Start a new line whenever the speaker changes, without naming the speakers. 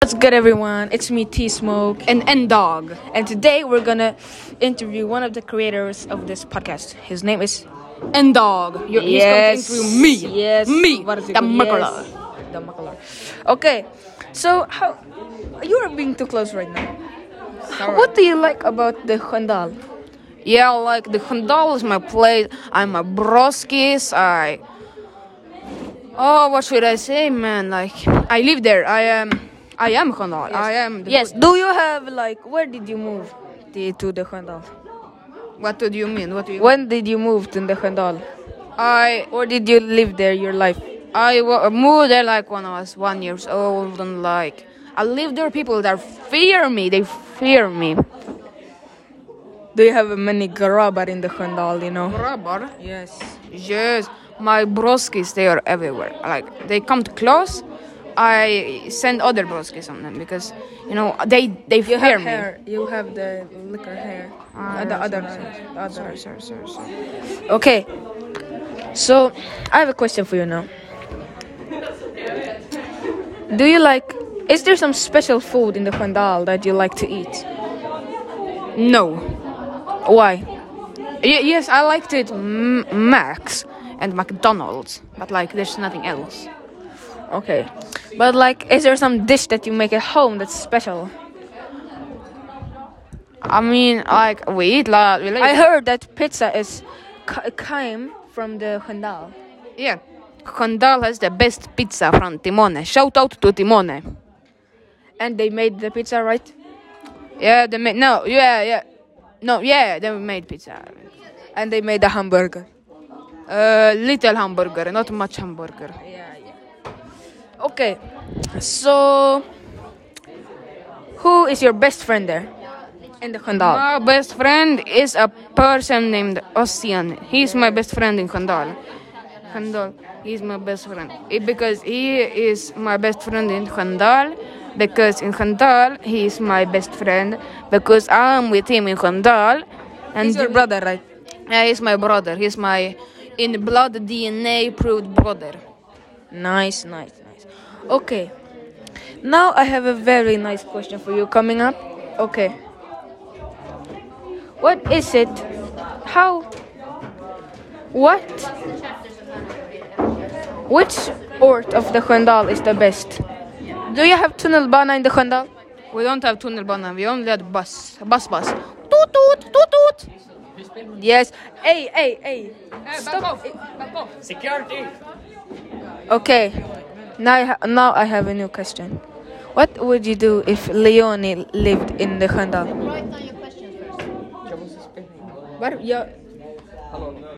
What's good, everyone? It's me, T Smoke,
and N Dog.
and today we're gonna interview one of the creators of this podcast. His name is
N Dog. You're he's going to interview me.
Yes,
Me,
What is it
the
called?
Makala.
Yes, the Makala. Okay, so how you are being too close right now. What do you like about the Honda?
Yeah, like the Hondal is my place. I'm a broskis. I. Oh, what should I say, man? Like I live there. I am. I am Hondal. I am. The
Yes. Do you have like where did you move the, to the Honda?
What do you mean? What do you?
When did you move to the Honda?
I
Or did you live there your life?
I wa- moved there like when I was one years old and like I live there. People that fear me. They fear me.
Do you have many garabar in the Honda? You know.
Rubber.
Yes.
Yes, my broskis they are everywhere. Like they come to close, I send other broskis on them because you know they they
You
fear
have
me.
hair. You have the liquor hair.
Ah,
Uh, the
yeah,
other,
sorry,
the other.
Sorry, sorry, sorry, sorry.
Okay. So, I have a question for you now. Do you like? Is there some special food in the Khandal that you like to eat?
No.
Why?
Y- yes, I liked it M- Max and McDonald's, but like there's nothing else.
Okay. But like, is there some dish that you make at home that's special?
I mean, like we eat like we like
I heard that pizza is ca- came from the Khandal.
yeah. Condal has the best pizza from Timone. Shout out to Timone.
and they made the pizza right.
Yeah, they made no, yeah, yeah, no, yeah, they made pizza.
And they made the hamburger.
Uh, little hamburger, not much hamburger.
Yeah, yeah. Okay, so who is your best friend there in the Khandal?
My best friend is a person named Ossian. He's my best friend in Khandal. Khandal, he's my best friend. It- because he is my best friend in Khandal. Because in Khandal, he is my best friend. Because I'm with him in Khandal. And
He's your brother, right?
Yeah, he's my brother. He's my in blood DNA proved brother.
Nice, nice, nice. Okay, now I have a very nice question for you coming up. Okay, what is it? How? What? Which part of the Khandal is the best? Do you have Tunnel Bana in the Khandal?
We don't have tunnel banana. We only had bus, bus, bus. Toot toot toot toot.
Yes. Hey, hey, hey. Stop.
Security!
Okay. Now I, ha- now I have a new question. What would you do if Leone lived in the Khandal? Write down your questions first. What? Yeah.